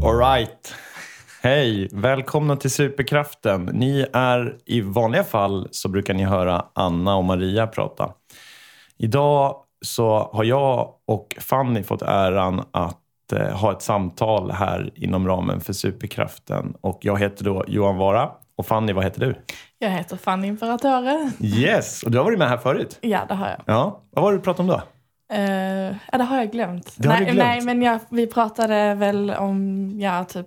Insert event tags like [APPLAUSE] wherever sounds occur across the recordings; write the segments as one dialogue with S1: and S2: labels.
S1: right. Hej, välkomna till Superkraften. Ni är i vanliga fall så brukar ni höra Anna och Maria prata. Idag så har jag och Fanny fått äran att eh, ha ett samtal här inom ramen för Superkraften. Och jag heter då Johan Vara. Och Fanny, vad heter du?
S2: Jag heter Fanny Imperatöre.
S1: Yes, och du har varit med här förut.
S2: Ja, det har jag.
S1: Ja, vad var det du pratade om då?
S2: Eh, ja, det har jag glömt.
S1: Det har
S2: nej,
S1: du glömt.
S2: nej, men jag, vi pratade väl om, ja, typ,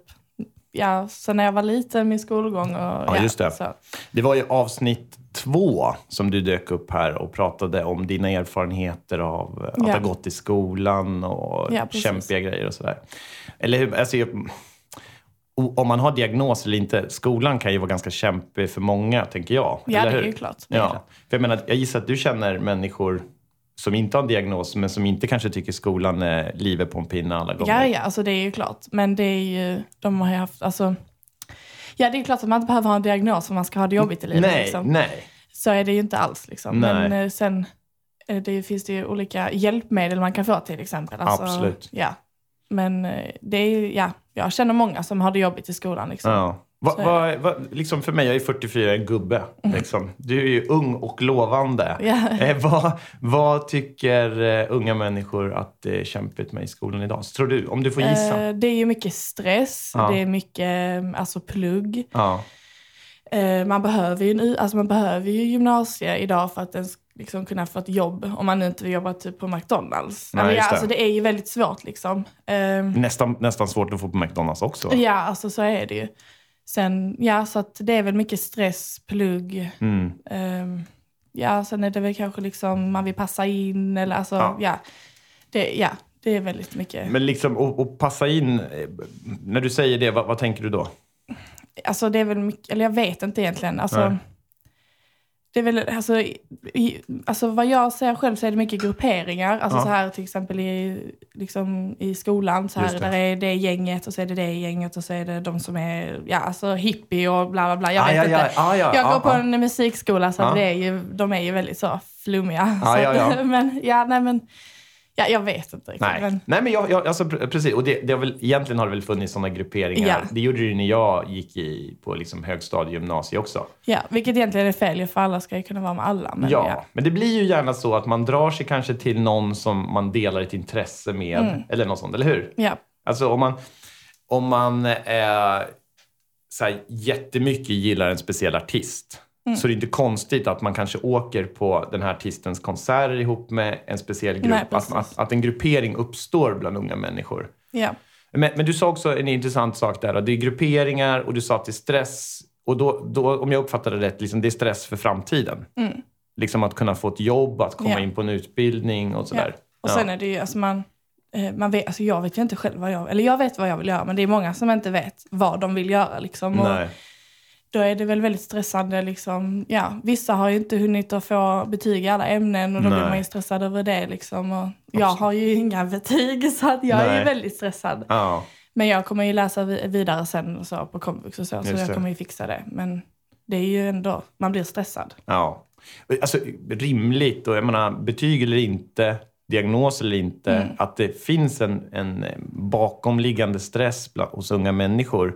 S2: ja, sen när jag var liten, min skolgång och ja.
S1: just det.
S2: Så.
S1: Det var ju avsnitt två som du dök upp här och pratade om dina erfarenheter av att
S2: Ja.
S1: ha gått i skolan och
S2: Ja, precis.
S1: kämpiga grejer och sådär. Eller hur? Alltså, jag- o- om man har diagnos eller inte, skolan kan ju vara ganska kämpig för många, tänker jag.
S2: Ja,
S1: eller
S2: det är
S1: hur?
S2: ju klart. Det är
S1: Ja.
S2: klart.
S1: För jag, menar, jag gissar att du känner människor som inte har en diagnos, men som inte kanske tycker skolan är livet på en pinne alla gånger.
S2: Ja, ja, alltså det är ju klart. Men det är ju, de har ju haft, alltså, ja, det är ju klart att man inte behöver ha en diagnos om man ska ha det jobbigt i livet.
S1: nej,
S2: liksom.
S1: nej.
S2: Så är det ju inte alls. Liksom.
S1: Nej.
S2: Men eh, sen eh, det finns det ju olika hjälpmedel man kan få till exempel. Alltså,
S1: Absolut.
S2: Ja. Men eh, det är ju, ja, jag känner många som har det jobbigt i skolan. Liksom.
S1: Ja. Va,
S2: Så är Mm.
S1: va, va, liksom för mig, jag är 44, en gubbe. Liksom. Du är ju ung och lovande.
S2: Ja.
S1: Eh, vad, vad tycker eh, unga människor att det är kämpigt med i skolan idag? Så tror du, om du får gissa.
S2: Eh, det är ju mycket stress,
S1: Ja.
S2: det är mycket eh, alltså, plugg.
S1: Ja.
S2: Eh, man, behöver ju en, u- alltså, man behöver ju gymnasie idag för att ens liksom, kunna få ett jobb om man inte vill jobba typ, på McDonalds.
S1: Nej,
S2: ja,
S1: just det. Mm.
S2: Alltså, det är ju väldigt svårt liksom. Eh,
S1: Nästan, nästan svårt att få på McDonalds också. va?
S2: Ja, alltså så är det ju. Sen, ja, så att det är väl mycket stress, plugg.
S1: Mm.
S2: ehm, ja, sen är det väl kanske liksom man vill passa in eller alltså,
S1: Ja.
S2: ja. det, ja, det är väldigt mycket.
S1: Men liksom, och, och passa in. eh, När du säger det, vad, vad tänker du då?
S2: Alltså det är väl mycket, eller jag vet inte egentligen.
S1: Nej.
S2: Alltså, det är väl, alltså, i- i, alltså vad jag ser själv så är det mycket grupperingar. Alltså
S1: Ja.
S2: så här till exempel i, liksom, i skolan. Så här,
S1: Just det.
S2: där är det gänget och så är det det gänget och så är det de som är ja, alltså, hippie och bla bla bla. Jag
S1: Ah,
S2: vet
S1: ja,
S2: inte.
S1: ja, ah, ja,
S2: Jag
S1: ah,
S2: går på
S1: ah.
S2: en musikskola så
S1: Ja.
S2: det är ju, de är ju väldigt så flummiga.
S1: Ja,
S2: så,
S1: Ah, ja, ja.
S2: [LAUGHS] men ja, nej men, ja, jag vet inte riktigt.
S1: Nej,
S2: Men,
S1: Nej men jag, jag, alltså, pr- precis. Och det, det har väl, egentligen har det väl funnits sådana grupperingar.
S2: Ja.
S1: Det gjorde det ju när jag gick i, på liksom högstadie gymnasie också.
S2: ja, vilket egentligen är fel ju, för alla ska ju kunna vara med alla. Men,
S1: ja,
S2: ja.
S1: men det blir ju gärna så att man drar sig kanske till någon som man delar ett intresse med.
S2: Mm.
S1: Eller något sånt, eller hur?
S2: Ja,
S1: Alltså om man, om man eh, så här, jättemycket gillar en speciell artist
S2: Mm.
S1: så det är inte konstigt att man kanske åker på den här artistens konserter ihop med en speciell grupp.
S2: Nej,
S1: att,
S2: precis.
S1: att, att en gruppering uppstår bland unga människor.
S2: ja.
S1: Men, men du sa också en intressant sak där. att Det är grupperingar och du sa att det är stress. Och då, då, om jag uppfattade det rätt, liksom, det är stress för framtiden. Liksom att kunna få ett jobb, att komma
S2: Mm. Ja.
S1: in på en utbildning och sådär.
S2: Ja. Och sen är det ju, alltså man, eh, man vet, alltså jag vet ju inte själv vad jag, eller jag vet vad jag vill göra men det är många som inte vet vad de vill göra liksom. Och
S1: Nej.
S2: då är det väl väldigt stressande liksom, ja, vissa har ju inte hunnit att få betyg i alla ämnen och då
S1: Nej.
S2: blir man ju stressad över det liksom. Och jag har ju inga betyg [LAUGHS] så att jag är
S1: Nej.
S2: ju väldigt stressad.
S1: Ja.
S2: Men jag kommer ju läsa vi- vidare sen och så på komvux och så, så
S1: Just det.
S2: jag kommer ju fixa det. Men det är ju ändå, man blir stressad.
S1: Ja. Alltså rimligt och jag menar betyg eller inte, diagnos eller inte.
S2: Mm.
S1: Att det finns en, en bakomliggande stress bland, hos unga människor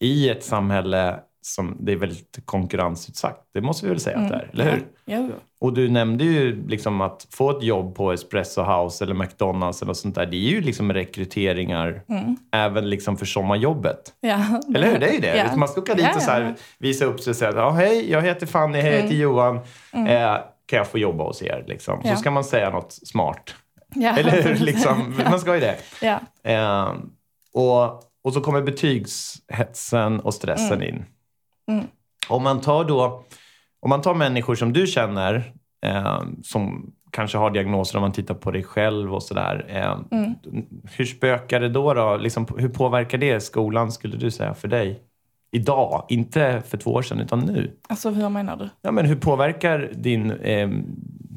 S1: i ett samhälle som det är väldigt konkurrensutsatt. Det måste vi väl säga att det är, eller hur?
S2: Mm. Ja. Jo.
S1: Och du nämnde ju liksom att få ett jobb på Espresso House eller McDonalds eller sånt där. Det är ju liksom rekryteringar även liksom för sommarjobbet.
S2: Mm. Ja.
S1: Eller hur? Det är ju det.
S2: Ja.
S1: Man ska åka dit
S2: Ja,
S1: och
S2: ja,
S1: så här
S2: ja. Mm.
S1: visa upp sig och säga ja, hej, jag heter Fanny, hej, jag heter Johan. Eh, kan jag få jobba hos er? Liksom.
S2: Ja.
S1: Så ska man säga något
S2: [LAUGHS]
S1: smart.
S2: Ja.
S1: Eller hur? Liksom, man ska ju det.
S2: Ja.
S1: Eh, och, och så kommer betygshetsen och stressen in. Om man tar då, om man tar människor som du känner, eh, som kanske har diagnoser om man tittar på dig själv och sådär. Eh, Hur spökar det då? då? Liksom, hur påverkar det skolan, skulle du säga, för dig? Idag, inte för två år sedan, utan nu.
S2: Alltså hur menar du?
S1: Ja, men hur påverkar din, eh,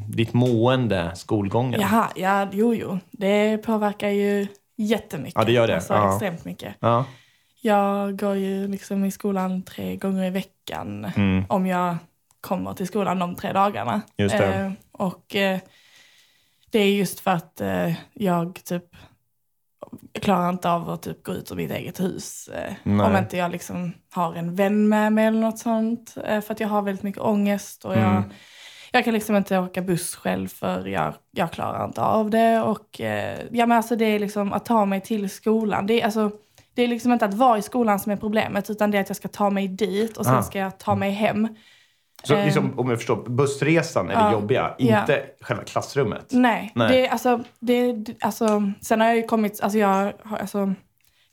S1: ditt mående skolgången?
S2: Jaha, ja, jo, jo. Det påverkar ju jättemycket.
S1: Ja, det gör det.
S2: Alltså,
S1: Ja.
S2: extremt mycket.
S1: Ja.
S2: Jag går ju liksom i skolan tre gånger i veckan
S1: Mm.
S2: om jag kommer till skolan de tre dagarna.
S1: Just det.
S2: Eh, och eh, det är just för att eh, jag typ klarar inte av att typ gå ut ur mitt eget hus. Eh,
S1: Nej.
S2: om inte jag liksom har en vän med mig eller något sånt. Eh, för att jag har väldigt mycket ångest. Och jag,
S1: Mm.
S2: jag kan liksom inte åka buss själv för jag, jag klarar inte av det. Och, eh, ja, men alltså det är liksom att ta mig till skolan. Det är, alltså, det är liksom inte att vara i skolan som är problemet utan det är att jag ska ta mig dit och sen
S1: Ah.
S2: ska jag ta mig hem.
S1: Så
S2: Ehm.
S1: liksom, om jag förstår, bussresan är det
S2: Ja.
S1: jobbiga,
S2: Ja.
S1: inte själva klassrummet.
S2: Nej,
S1: Nej.
S2: Det, är- alltså, det, det- alltså, sen har jag ju kommit, alltså jag, har- alltså,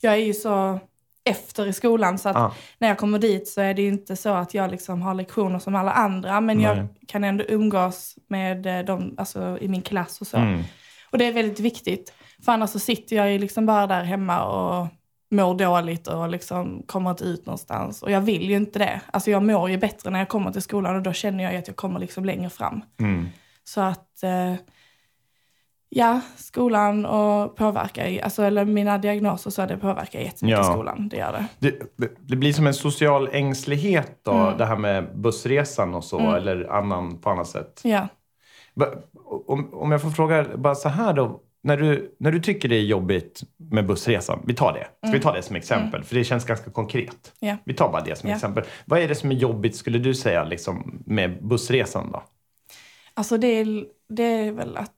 S2: jag är ju så efter i skolan så att
S1: Ah.
S2: när jag kommer dit så är det ju inte så att jag liksom har lektioner som alla andra men jag
S1: Nej.
S2: kan ändå umgås med eh, dem alltså, i min klass och så.
S1: Mm.
S2: Och det är väldigt viktigt för annars så sitter jag ju liksom bara där hemma och mår dåligt och liksom kommer inte ut någonstans. Och jag vill ju inte det. Alltså jag mår ju bättre när jag kommer till skolan och då känner jag ju att jag kommer liksom längre fram.
S1: Mm.
S2: Så att eh, ja, skolan och påverkar ju, alltså, eller mina diagnoser så det påverkar jättemycket
S1: Ja.
S2: skolan. Det gör det.
S1: Det, det blir som en social ängslighet då,
S2: Mm.
S1: det här med bussresan och så, eller annan på annat sätt.
S2: Ja.
S1: Va- Om, om jag får fråga bara så här då. När du, när du tycker det är jobbigt med bussresan, vi tar det. Ska
S2: Mm.
S1: vi ta det som exempel? För det känns ganska konkret.
S2: Ja.
S1: Vi tar bara det som
S2: Ja.
S1: exempel. Vad är det som är jobbigt, skulle du säga, liksom, med bussresan då?
S2: Alltså det är, det är väl att...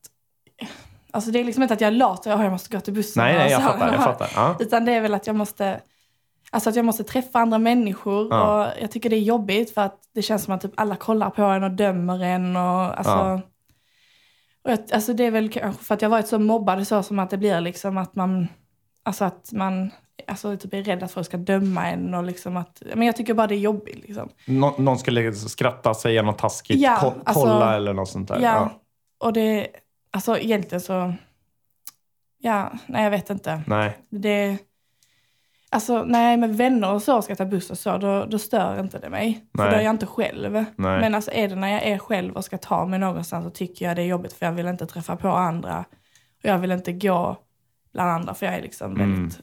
S2: Alltså det är liksom inte att jag är lat och "Åh, jag måste gå till bussen.
S1: Nej, nej, jag
S2: Alltså,
S1: fattar. Jag fattar. Ja.
S2: Utan det är väl att jag måste... Alltså att jag måste träffa andra människor
S1: Ja.
S2: och jag tycker det är jobbigt för att det känns som att typ alla kollar på en och dömer en och alltså...
S1: Ja.
S2: Och jag, alltså det är väl kanske för att jag varit så mobbad så som att det blir liksom att man... Alltså att man alltså typ är rädd att folk ska döma en och liksom att... Men jag tycker bara det är jobbigt liksom.
S1: Nå, någon skulle skratta, säga något taskigt,
S2: Ja,
S1: ko-
S2: alltså-
S1: kolla eller något sånt där.
S2: Ja, och det... Alltså egentligen så... Ja, nej jag vet inte.
S1: Nej.
S2: Det... Alltså nej, men vänner och så ska ta buss och så, då, då stör inte det mig. För
S1: Nej.
S2: då är jag inte själv.
S1: Nej.
S2: Men alltså är det när jag är själv och ska ta mig någonstans så tycker jag det är jobbigt för jag vill inte träffa på andra. Och jag vill inte gå bland andra för jag är liksom
S1: Mm.
S2: väldigt,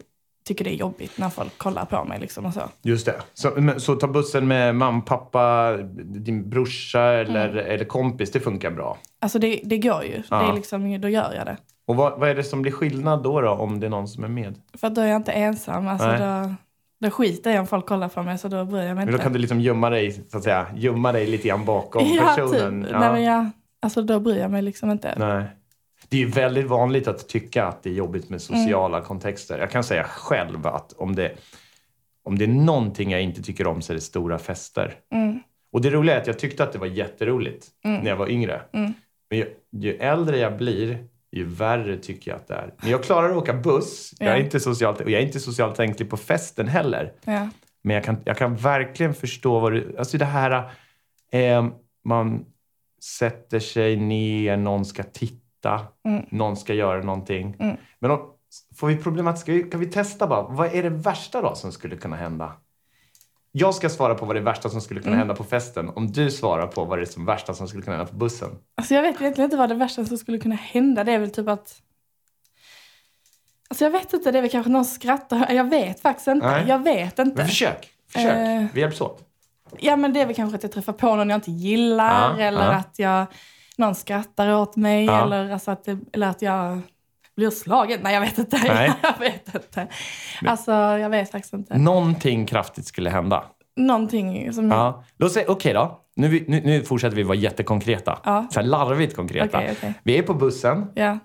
S2: tycker det är jobbigt när folk kollar på mig liksom och så.
S1: Just det. Så, men, så ta bussen med mamma, pappa, din brorsa eller,
S2: Mm.
S1: eller kompis, det funkar bra.
S2: Alltså det, det går ju. Det
S1: Ja.
S2: är liksom, då gör jag det.
S1: Och vad, vad är det som blir skillnad då, då om det är någon som är med?
S2: För att då är jag inte ensam. Alltså
S1: Nej.
S2: då, då skiter jag om folk kollar på mig så då bryr jag mig
S1: Men då
S2: inte.
S1: kan du liksom gömma dig, så att säga, gömma dig lite grann bakom
S2: [LAUGHS] ja,
S1: personen.
S2: typ. Nej, men jag, alltså då bryr jag mig liksom inte.
S1: Nej. Det är ju väldigt vanligt att tycka att det är jobbigt
S2: Mm.
S1: med sociala kontexter. Jag kan säga själv att om det, om det är någonting jag inte tycker om så är det stora fester.
S2: Mm.
S1: Och det roliga är att jag tyckte att det var jätteroligt när jag var yngre.
S2: Mm.
S1: Men ju, ju äldre jag blir, ju värre tycker jag att det är. Men jag klarar att åka buss. Jag är
S2: Ja.
S1: inte socialt, och jag är inte socialt ängslig på festen heller.
S2: Ja.
S1: Men jag kan, jag kan verkligen förstå vad du... Alltså det här... Eh, man sätter sig ner, någon ska titta,
S2: Mm.
S1: någon ska göra någonting.
S2: Mm.
S1: Men om, får vi problematiskt... Kan vi testa bara? Vad är det värsta då som skulle kunna hända? Jag ska svara på vad det värsta som skulle kunna
S2: Mm.
S1: hända på festen. Om du svarar på vad det är som värsta som skulle kunna hända på bussen.
S2: Alltså jag vet egentligen inte vad det värsta som skulle kunna hända. Det är väl typ att... Alltså jag vet inte, det är väl kanske någon skrattar. Jag vet faktiskt inte.
S1: Nej.
S2: Jag vet
S1: Men
S2: inte.
S1: försök! Försök!
S2: Eh.
S1: Vi hjälps åt.
S2: Ja men det är väl kanske att jag träffar på någon jag inte gillar.
S1: Ja,
S2: eller
S1: ja.
S2: att jag, någon skrattar åt mig.
S1: Ja.
S2: Eller, alltså att det, eller att jag blir slagen. Nej jag vet inte.
S1: Nej.
S2: [LAUGHS]
S1: Mm.
S2: jag vet inte. Alltså jag vet faktiskt inte.
S1: Någonting kraftigt skulle hända.
S2: Någonting som...
S1: Ja. Låt säga, okej då. Nu, vi- nu, nu fortsätter vi vara jättekonkreta.
S2: Ja.
S1: Så här larvigt konkreta.
S2: Okej, okej.
S1: Vi är på bussen.
S2: Ja,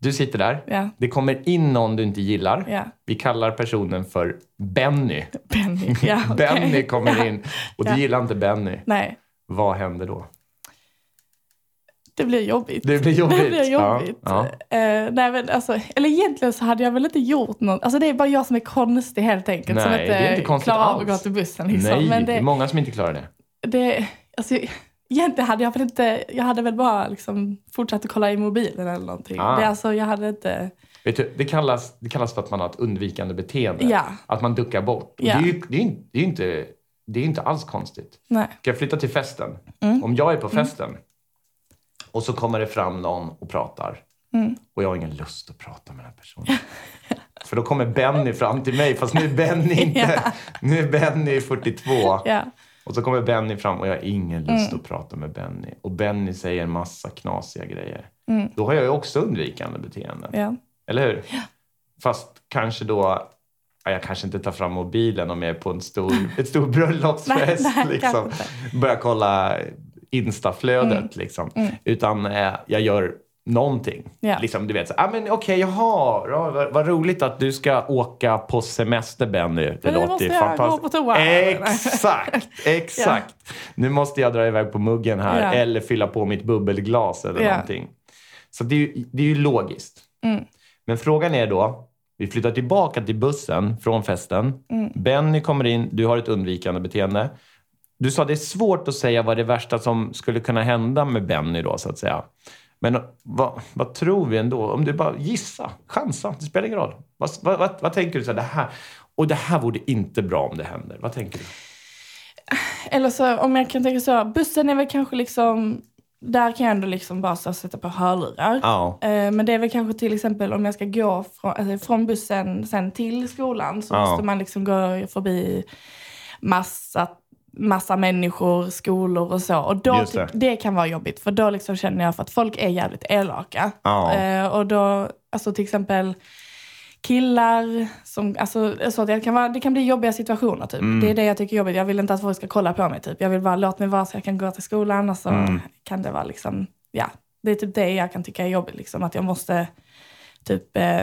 S1: Du sitter där.
S2: ja,
S1: Det kommer in någon du inte gillar.
S2: ja.
S1: Vi kallar personen för Benny.
S2: Benny. Ja, [LAUGHS]
S1: [LAUGHS]
S2: okej.
S1: Benny kommer
S2: ja.
S1: in och du
S2: Ja.
S1: gillar inte Benny.
S2: Nej,
S1: Vad händer då?
S2: det blir jobbigt.
S1: Det blir jobbigt.
S2: [LAUGHS] Det blir jobbigt.
S1: Ja,
S2: Eh, nej, men alltså, eller egentligen så hade jag väl inte gjort något. Alltså det är bara jag som är konstig helt enkelt. som
S1: Nej,
S2: inte,
S1: det är inte konstigt
S2: klarar av att
S1: alls.
S2: gå till bussen
S1: ja.
S2: liksom.
S1: Nej,
S2: men
S1: det är
S2: det,
S1: många som inte klarar det.
S2: det, alltså, egentligen hade jag väl inte, jag hade väl bara liksom fortsatt att kolla i mobilen eller någonting.
S1: Ah.
S2: Det, är alltså, jag hade inte,
S1: Vet du, det, kallas, det kallas för att man har ett undvikande beteende.
S2: Ja.
S1: Att man duckar bort. Och
S2: Ja.
S1: Det, är ju, det, är, ju- det, är ju inte, det är ju inte alls konstigt.
S2: nej.
S1: Ska jag flytta till festen?
S2: Mm.
S1: Om jag är på festen och så kommer det fram någon och pratar
S2: Mm.
S1: och jag har ingen lust att prata med den här personen. [LAUGHS] För då kommer Benny fram till mig, fast nu är
S2: [LAUGHS]
S1: Benny inte... Nu är Benny 42.
S2: Ja, Mm.
S1: Och så kommer Benny fram och jag har ingen lust att prata med Benny. Och Benny säger en massa knasiga grejer. Då har jag ju också undvikande beteende.
S2: Mm. ja.
S1: Eller hur? Fast kanske då... Ja, jag kanske inte tar fram mobilen om jag är på en stor,
S2: [LAUGHS]
S1: ett stor bröllopsfest.
S2: Nej, nej,
S1: liksom.
S2: kanske
S1: Börja kolla instaflödet.
S2: Mm.
S1: Liksom. Utan eh, jag gör någonting.
S2: Ja.
S1: Liksom, du vet, så, ah, men okej, jaha, ja, vad, vad roligt att du ska åka på semester Benny. Det
S2: Men nu
S1: låter
S2: måste
S1: ju
S2: jag gå
S1: fantastiskt.
S2: på toa. [LAUGHS]
S1: Exakt, exakt. Nu måste jag dra iväg på muggen här
S2: Ja.
S1: eller fylla på mitt bubbelglas eller
S2: Ja.
S1: någonting. Så det är ju, det är ju logiskt. Men frågan är då, vi flyttar tillbaka till bussen från festen. Benny kommer in, du har ett undvikande beteende. Du sa det är svårt att säga vad det värsta som skulle kunna hända med Benny då, så att säga. Men vad, vad tror vi ändå? Om du bara gissa, chansa, det spelar ingen roll. Vad, vad, vad, vad tänker du? Så här, det här, och det här vore inte bra om det händer. Vad tänker du?
S2: Eller så om jag kan tänka så, bussen är väl kanske liksom, där kan jag ändå liksom bara så, sätta på hörlurar.
S1: Ja.
S2: Eh, Men det är väl kanske till exempel om jag ska gå från, alltså från bussen sen till skolan så
S1: Ja.
S2: måste man liksom gå förbi massa, massa människor, skolor och så. Och då typ
S1: Just
S2: tyck-
S1: det.
S2: det kan vara jobbigt för då liksom känner jag för att folk är jävligt elaka.
S1: Ja.
S2: Eh, Och då, alltså till exempel killar som, alltså så att det kan, vara, det kan bli jobbiga situationer typ.
S1: Mm.
S2: Det är det jag tycker är jobbigt. Jag vill inte att folk ska kolla på mig typ. Jag vill bara låt mig vara så jag kan gå till skolan och så
S1: Mm.
S2: kan det vara liksom, ja. Det är typ det jag kan tycka är jobbigt liksom. Att jag måste typ, eh,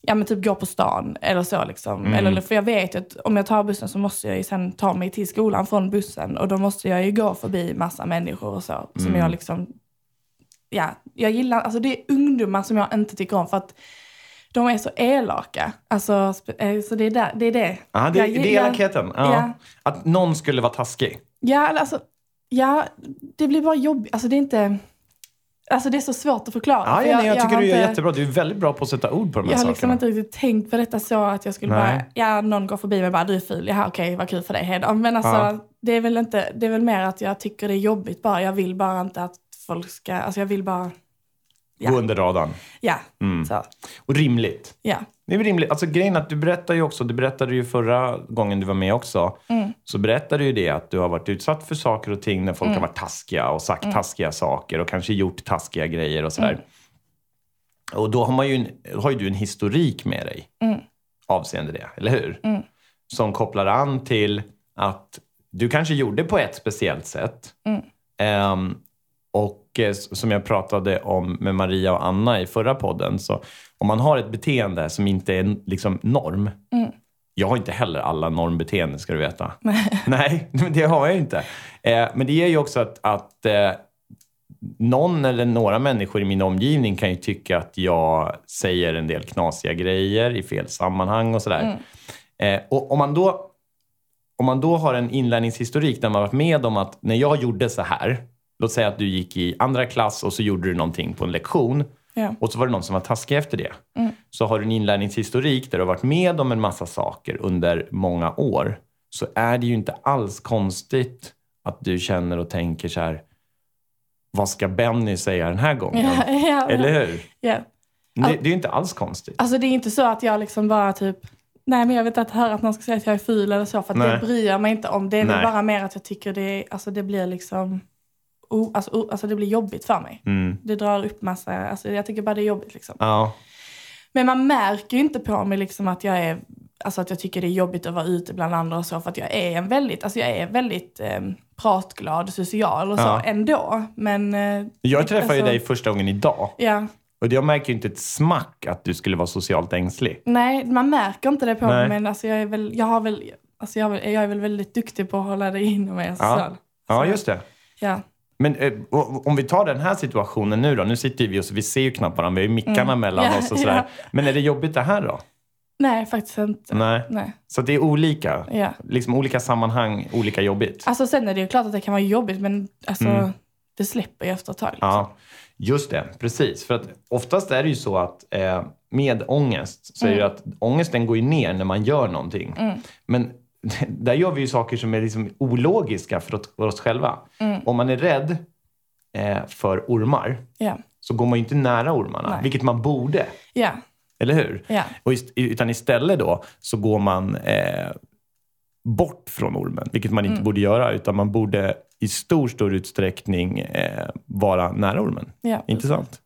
S2: ja men typ gå på stan eller så liksom.
S1: Mm.
S2: Eller, för jag vet ju att om jag tar bussen så måste jag ju sen ta mig till skolan från bussen och då måste jag ju gå förbi massa människor och så. Som
S1: Mm.
S2: jag liksom, ja, jag gillar, alltså det är ungdomar som jag inte tycker om för att de är så elaka. Alltså, spe- eh, så det är där, det. Är det.
S1: Ja, det,
S2: jag
S1: det är elakheten. Ja.
S2: Ja.
S1: Att någon skulle vara taskig.
S2: Ja, eller alltså, ja, det blir bara jobbigt. Alltså det är inte... Alltså det är så svårt att förklara.
S1: Ja,
S2: för
S1: jag, jag, tycker
S2: har
S1: du
S2: inte-
S1: är jättebra. Du är väldigt bra på att sätta ord på de här
S2: Jag har
S1: sakerna.
S2: liksom inte riktigt tänkt på detta så att jag skulle
S1: Nej.
S2: bara, ja någon går förbi mig och bara du är ful, ja okej vad kul för dig hejdå. Men alltså
S1: Ja.
S2: det är väl inte, det är väl mer att jag tycker det är jobbigt bara. Jag vill bara inte att folk ska, alltså jag vill bara, Ja.
S1: Gå under radarn.
S2: ja.
S1: Mm.
S2: Så,
S1: Och rimligt.
S2: ja.
S1: Det är väl rimligt. Alltså grejen är att du berättar ju också, det berättade du ju förra gången du var med också, så berättade du ju det att du har varit utsatt för saker och ting när folk har varit taskiga och sagt taskiga saker och kanske gjort taskiga grejer och sådär. Och då har, man ju en, har ju du en historik med dig avseende det, eller hur? Som kopplar an till att du kanske gjorde på ett speciellt sätt. Ehm, och eh, s- som jag pratade om med Maria och Anna i förra podden, så om man har ett beteende som inte är n- liksom norm. Jag har inte heller alla normbeteenden ska du veta. [LAUGHS] Nej, men det har jag ju inte. Eh, men det ger ju också att, att eh, någon eller några människor i min omgivning kan ju tycka att jag säger en del knasiga grejer i fel sammanhang och sådär. Eh, och om man då om man då har en inlärningshistorik där man varit med om att när jag gjorde så här, låt säga att du gick i andra klass och så gjorde du någonting på en lektion
S2: Ja.
S1: och så var det någon som var taskig efter det.
S2: Mm.
S1: Så har du en inlärningshistorik där du har varit med om en massa saker under många år så är det ju inte alls konstigt att du känner och tänker så här, vad ska Benny säga den här gången?
S2: Ja, [LAUGHS] ja,
S1: Eller hur?
S2: ja.
S1: Det, det är ju inte alls konstigt.
S2: Alltså det är inte så att jag liksom bara typ, nej men jag vet inte höra att någon ska säga att jag är ful eller så för att
S1: Nej.
S2: det bryr jag mig inte om. Det är
S1: Nej.
S2: väl bara mer att jag tycker det, är- alltså det blir liksom, o, alltså, o, alltså det blir jobbigt för mig.
S1: Mm.
S2: Det drar upp massa, alltså jag tycker bara det är jobbigt liksom.
S1: Ja.
S2: Men man märker ju inte på mig liksom att jag är Alltså att jag tycker det är jobbigt att vara ute bland andra och så för att jag är en väldigt, alltså jag är väldigt eh, pratglad, social och så
S1: Ja.
S2: ändå. Men eh,
S1: Jag träffade ju
S2: Alltså-
S1: dig första gången idag.
S2: ja,
S1: Och jag märker ju inte ett smack att du skulle vara socialt ängslig.
S2: nej man märker inte det på
S1: Nej.
S2: mig men alltså jag är väl, jag har väl, alltså jag, är väl- jag är väl väldigt duktig på att hålla det inom mig.
S1: Ja.
S2: Ja.
S1: Ja, just det.
S2: Ja.
S1: Men eh, o- om vi tar den här situationen nu då. Nu sitter ju vi och så vi ser ju knappt varandra. Vi har ju mickarna mellan
S2: Mm. Ja,
S1: oss och sådär.
S2: ja.
S1: Men är det jobbigt det här då?
S2: Nej faktiskt inte.
S1: Nej.
S2: Nej.
S1: Så det är olika.
S2: Ja.
S1: Liksom olika sammanhang, olika jobbigt.
S2: Alltså sen är det ju klart att det kan vara jobbigt men alltså det släpper ju efter ett tag. Liksom.
S1: Mm. Ja, just det. Precis. För att oftast är det ju så att eh, med ångest så är
S2: Mm.
S1: det ju att ångesten går ju ner när man gör någonting. Men [LAUGHS] där gör vi ju saker som är liksom ologiska för, åt- för oss själva.
S2: Mm.
S1: Om man är rädd eh, för ormar
S2: Ja.
S1: så går man ju inte nära ormarna,
S2: Nej.
S1: vilket man borde.
S2: Ja.
S1: Eller hur?
S2: Ja.
S1: Och ist- utan istället då så går man eh, bort från ormen, vilket man inte
S2: Mm.
S1: borde göra. Utan man borde i stor, stor utsträckning eh, vara nära ormen.
S2: Ja,
S1: Intressant.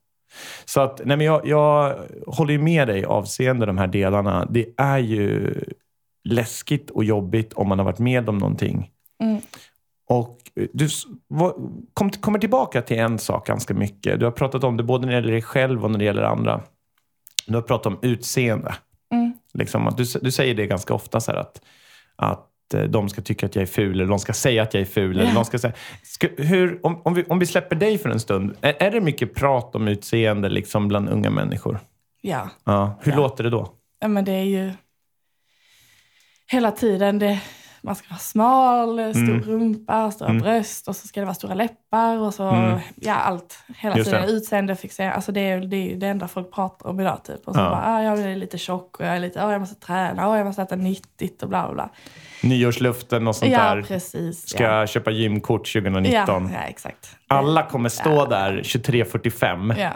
S1: Så att, nej men jag, jag håller ju med dig avseende de här delarna. Det är ju läskigt och jobbigt om man har varit med om någonting.
S2: Mm.
S1: Och eh, du s- vad- kom, kommer tillbaka till en sak ganska mycket. Du har pratat om det både när det gäller dig själv och när det gäller andra. Du har pratat om utseende.
S2: Mm.
S1: Liksom att du, s- du säger det ganska ofta så här att, att eh, de ska tycka att jag är ful eller de ska säga att jag är ful. Eller
S2: Ja.
S1: de ska säga, ska, hur, om, om, vi, om vi släpper dig för en stund. Är, är det mycket prat om utseende liksom bland unga människor?
S2: Ja,
S1: Ja. Hur
S2: Ja.
S1: låter det då?
S2: Ja, men det är ju hela tiden. Det, man ska vara smal, stor
S1: Mm.
S2: rumpa, stora
S1: Mm.
S2: bröst och så ska det vara stora läppar och så
S1: Mm.
S2: ja, allt. Hela
S1: Just
S2: tiden
S1: det.
S2: utseende, fixera. Alltså det är ju det, är ju det enda folk pratar om idag typ. Och så
S1: Ja.
S2: bara, ah, jag är lite tjock och jag är lite, ah, jag måste träna, ah, jag måste äta nyttigt och bla bla bla.
S1: Nyårsluften och sånt
S2: ja,
S1: där.
S2: precis.
S1: Ska
S2: ja.
S1: jag köpa gymkort 2019?
S2: Ja, ja, exakt.
S1: Alla kommer stå
S2: Ja.
S1: där 23.45
S2: Ja, Mm.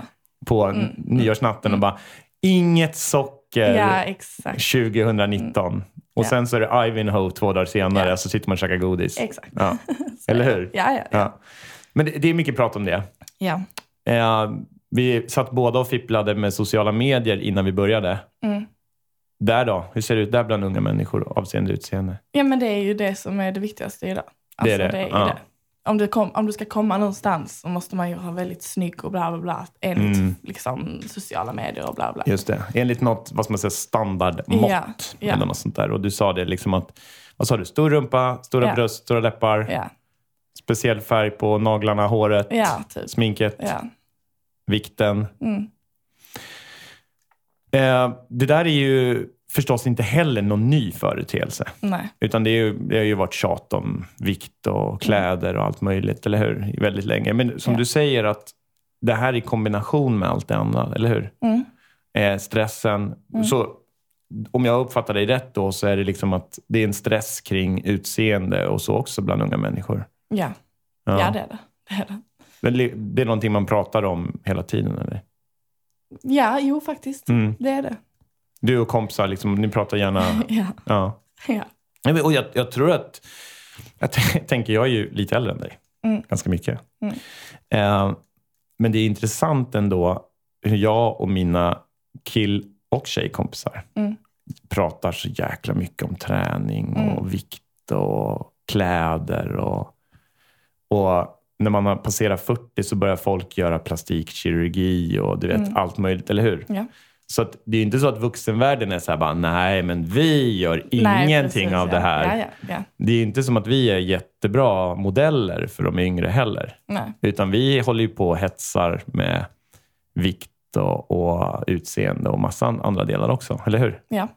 S1: på n- nyårsnatten och bara “inget socker
S2: ja exakt.
S1: 2019”. Och
S2: Mm. Ja.
S1: sen så är det Ivanhoe två dagar senare
S2: Ja.
S1: så sitter man och käkar godis.
S2: Exakt. [LAUGHS]
S1: Ja. Eller hur?
S2: Ja, ja, ja.
S1: Ja. Men det, det är mycket prat om det.
S2: ja.
S1: Eh, vi satt båda och fipplade med sociala medier innan vi började.
S2: Mm.
S1: Där då? Hur ser det ut där bland unga människor avseende utseende?
S2: Ja men det är ju det som är det viktigaste idag.
S1: Det är
S2: Alltså,
S1: det,
S2: är ju
S1: ja.
S2: det. Om, du kom, om du ska komma någonstans så måste man ju vara väldigt snygg och bla bla bla enligt
S1: Mm.
S2: liksom, sociala medier och bla bla.
S1: Just det. Enligt något, vad ska man säga, standardmått.
S2: Ja, ja.
S1: Eller något sånt där. Och du sa det liksom att, vad sa du? Stor rumpa, stora
S2: Ja.
S1: bröst, stora läppar,
S2: Ja,
S1: speciell färg på naglarna, håret,
S2: ja typ.
S1: sminket,
S2: Ja.
S1: vikten.
S2: Mm.
S1: Eh, det där är ju förstås inte heller någon ny företeelse.
S2: Nej.
S1: Utan det, är ju, det har ju varit tjat om vikt och kläder och allt möjligt, eller hur? I Väldigt länge. Men som
S2: Mm. Ja.
S1: du säger att det här i kombination med allt det andra, eller hur?
S2: Mm.
S1: eh, stressen. Så om jag uppfattar dig rätt då så är det liksom att det är en stress kring utseende och så också bland unga människor.
S2: Ja.
S1: Ja.
S2: Ja. det är det. det, är det.
S1: Men li- det är någonting man pratar om hela tiden eller?
S2: Ja, jo faktiskt.
S1: Mm.
S2: Det är det.
S1: Du och kompisar, liksom, ni pratar gärna...
S2: Ja.
S1: Ja.
S2: Ja.
S1: Nej, men- Och jag, jag tror att... Jag t- [LAUGHS] tänker, jag är ju lite äldre än dig.
S2: Mm.
S1: Ganska mycket.
S2: Mm.
S1: Eh, men det är intressant ändå hur jag och mina kill och tjejkompisar
S2: Mm.
S1: pratar så jäkla mycket om träning och
S2: Mm.
S1: vikt och kläder. Och, och när man har passerat 40 så börjar folk göra plastikkirurgi och du vet
S2: Mm.
S1: allt möjligt, eller hur?
S2: Ja.
S1: Så att, det är ju inte så att vuxenvärlden är så här bara, nej men vi gör ingenting
S2: Nej, precis,
S1: av
S2: [LAUGHS] ja.
S1: det här.
S2: Ja, ja, ja.
S1: Det är ju inte som att vi är jättebra modeller för de yngre heller.
S2: Nej.
S1: Utan vi håller ju på och hetsar med vikt och, och utseende och massan andra delar också, eller hur?
S2: Ja.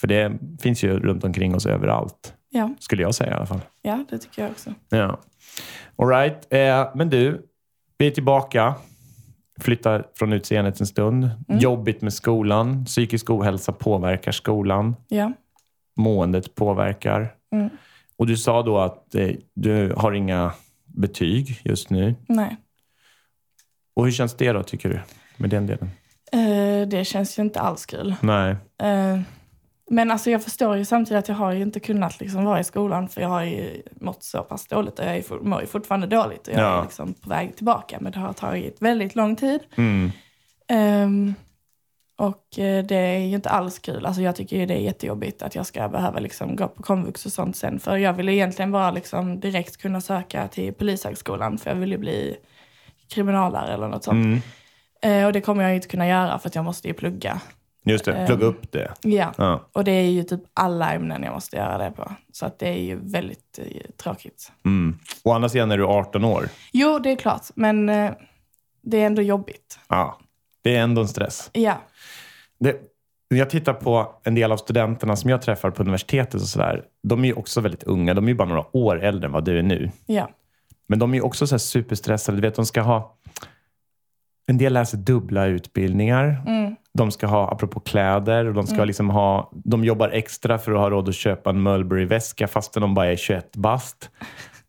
S1: För det finns ju runt omkring oss överallt,
S2: Ja.
S1: skulle jag säga i alla fall.
S2: ja, det tycker jag också.
S1: Ja. All right. Eh, men du, vi är tillbaka. Flyttar från utseendet en stund. Jobbigt med skolan. Psykisk ohälsa påverkar skolan.
S2: Ja.
S1: Måendet påverkar.
S2: Mm.
S1: Och du sa då att eh, du har inga betyg just nu.
S2: Nej.
S1: Och hur känns det då, tycker du? Med den delen?
S2: Eh, det känns ju inte alls kul.
S1: Nej.
S2: Eh, Men alltså jag förstår ju samtidigt att jag har ju inte kunnat liksom vara i skolan för jag har ju mått så pass dåligt och jag är for, mår ju fortfarande dåligt och jag
S1: Ja.
S2: är liksom på väg tillbaka men det har tagit väldigt lång tid.
S1: Mm.
S2: Ehm, och eh, det är ju inte alls kul. Alltså jag tycker ju det är jättejobbigt att jag ska behöva liksom gå på komvux och sånt sen. För jag ville egentligen bara liksom direkt kunna söka till polishögskolan för jag ville bli kriminalare eller något sånt.
S1: Mm.
S2: Eh, och det kommer jag ju inte kunna göra för att jag måste ju plugga.
S1: Just det, plugga upp det.
S2: Ja.
S1: Ja.
S2: Och det är ju typ alla ämnen jag måste göra det på. Så att det är ju väldigt eh, tråkigt.
S1: Mm. Å andra sidan är du 18 år.
S2: Jo, det är klart, men eh, det är ändå jobbigt.
S1: Ja. Det är ändå en stress.
S2: Ja,
S1: Det, när jag tittar på en del av studenterna som jag träffar på universitetet och sådär. De är ju också väldigt unga. De är ju bara några år äldre än vad du är nu.
S2: ja,
S1: Men de är ju också så här superstressade. Du vet, de ska ha... En del läser dubbla utbildningar.
S2: mm,
S1: De ska ha, apropå kläder, och de ska liksom ha... De jobbar extra för att ha råd att köpa en Mulberry-väska fastän de bara är 21 bast.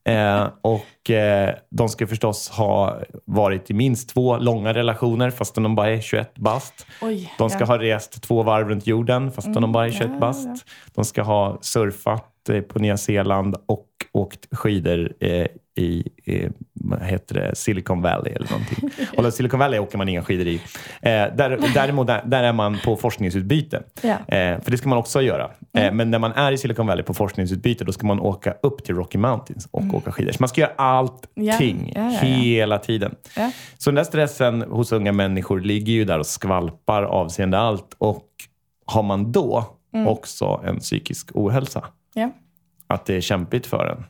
S1: Eh, och eh, de ska förstås ha varit i minst två långa relationer fastän de bara är 21 bast.
S2: oj.
S1: De ska
S2: ja. Mm.
S1: ha rest två varv runt jorden fastän de bara är 21
S2: ja,
S1: bast. De ska ha surfat eh, på Nya Zeeland och åkt skidor eh, i eh, vad heter det? Silicon Valley eller
S2: [LAUGHS]
S1: någonting. Eller Silicon Valley åker man inga skidor i. Eh, där, däremot där, där är man på forskningsutbyte.
S2: Ja.
S1: Eh, för det ska man också göra.
S2: Mm.
S1: Eh, men när man är i Silicon Valley på forskningsutbyte då ska man åka upp till Rocky Mountains och åka skidor. Så man ska göra allting
S2: Mm. Ja, ja, ja, ja.
S1: hela tiden.
S2: Ja.
S1: Så den där stressen hos unga människor ligger ju där och skvalpar avseende allt. Och har man då
S2: Mm.
S1: också en psykisk ohälsa,
S2: Ja,
S1: att det är kämpigt för en,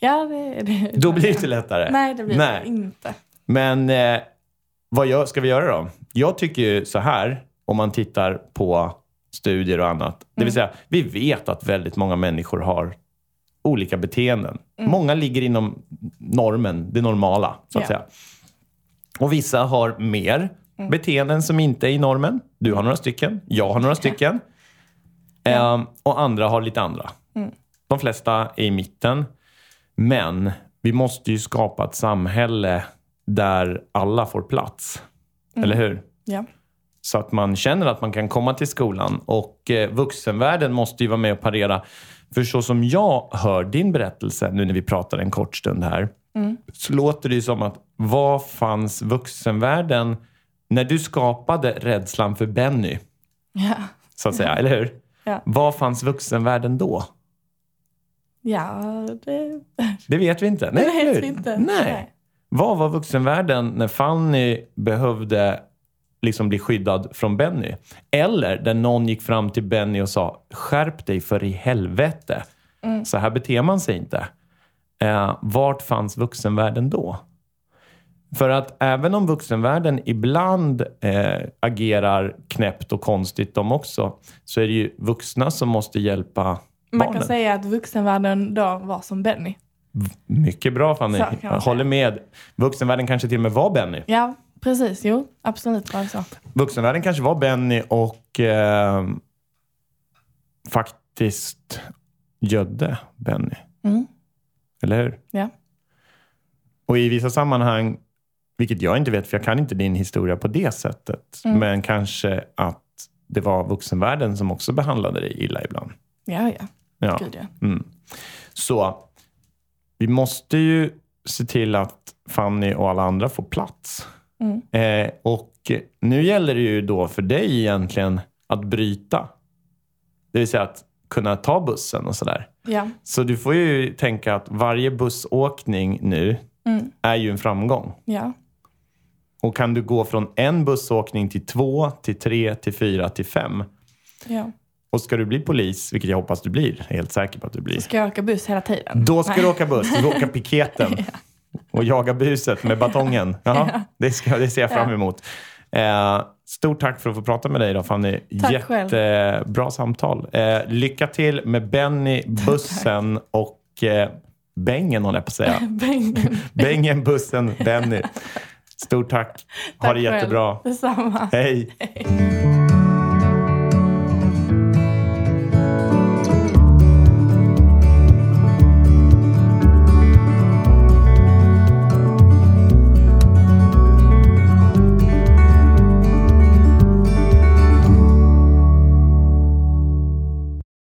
S2: ja det, det,
S1: då blir det inte lättare.
S2: Nej, det blir
S1: Nej.
S2: det inte.
S1: Men eh, vad gör, ska vi göra då? Jag tycker ju så här, om man tittar på studier och annat. Det vill säga, vi vet att väldigt många människor har olika beteenden. Många ligger inom normen, det normala, så att
S2: Ja.
S1: säga. Och vissa har mer beteenden som inte är i normen. Du har några stycken, jag har några stycken. Ehm, och andra har lite andra. De flesta är i mitten. Men vi måste ju skapa ett samhälle där alla får plats.
S2: Mm.
S1: Eller hur?
S2: Ja.
S1: Så att man känner att man kan komma till skolan. Och eh, vuxenvärlden måste ju vara med och parera. För så som jag hör din berättelse, nu när vi pratar en kort stund här,
S2: Mm.
S1: så låter det ju som att vad fanns vuxenvärlden när du skapade rädslan för Benny,
S2: Ja.
S1: så att säga, eller hur?
S2: Mm. Ja.
S1: Vad fanns vuxenvärlden då?
S2: ja, det
S1: Det vet vi inte. Nej,
S2: det
S1: eller
S2: vet
S1: hur?
S2: vi inte.
S1: Nej. Vad var vuxenvärlden när Fanny behövde liksom bli skyddad från Benny? Eller där någon gick fram till Benny och sa “skärp dig för i helvete”.
S2: Mm.
S1: Så här beter man sig inte. Eh, vart fanns vuxenvärlden då? För att även om vuxenvärlden ibland eh, agerar knäppt och konstigt de också, så är det ju vuxna som måste hjälpa
S2: Man
S1: barnen.
S2: kan säga att vuxenvärlden då var som Benny.
S1: Mycket bra Fanny.
S2: Så kan man
S1: Jag håller med. Vuxenvärlden kanske till och med var Benny.
S2: Ja, precis. Jo, absolut var det så.
S1: Vuxenvärlden kanske var Benny och eh, faktiskt gödde Benny.
S2: Mm.
S1: Eller hur?
S2: Ja.
S1: Och i vissa sammanhang, vilket jag inte vet för jag kan inte din historia på det sättet,
S2: Mm.
S1: men kanske att det var vuxenvärlden som också behandlade dig illa ibland.
S2: Ja, ja.
S1: Ja.
S2: Gud, ja.
S1: Mm. Så vi måste ju se till att Fanny och alla andra får plats. Eh, och nu gäller det ju då för dig egentligen att bryta. Det vill säga att kunna ta bussen och sådär.
S2: ja.
S1: Så du får ju tänka att varje bussåkning nu är ju en framgång.
S2: ja.
S1: Och kan du gå från en bussåkning till två, till tre, till fyra, till fem.
S2: ja.
S1: Och ska du bli polis, vilket jag hoppas du blir, jag är helt säker på att du blir.
S2: Ska jag åka buss hela tiden? [LAUGHS]
S1: Då ska
S2: Nej.
S1: du åka buss. Du ska åka
S2: [LAUGHS]
S1: piketen och jaga buset med batongen. Jaha, det, ska, det ser jag fram
S2: Ja.
S1: emot. Eh, stort tack för att få prata med dig idag Fanny.
S2: Tack själv.
S1: Jättebra samtal. Eh, lycka till med
S2: [LAUGHS]
S1: Benny, bussen och eh, bängen håller jag på att säga.
S2: [LAUGHS] Bengen.
S1: Bängen, bussen, Benny. Stort tack. Ha
S2: Tack
S1: det
S2: själv.
S1: 哦 jättebra.
S2: Detsamma.
S1: Hej.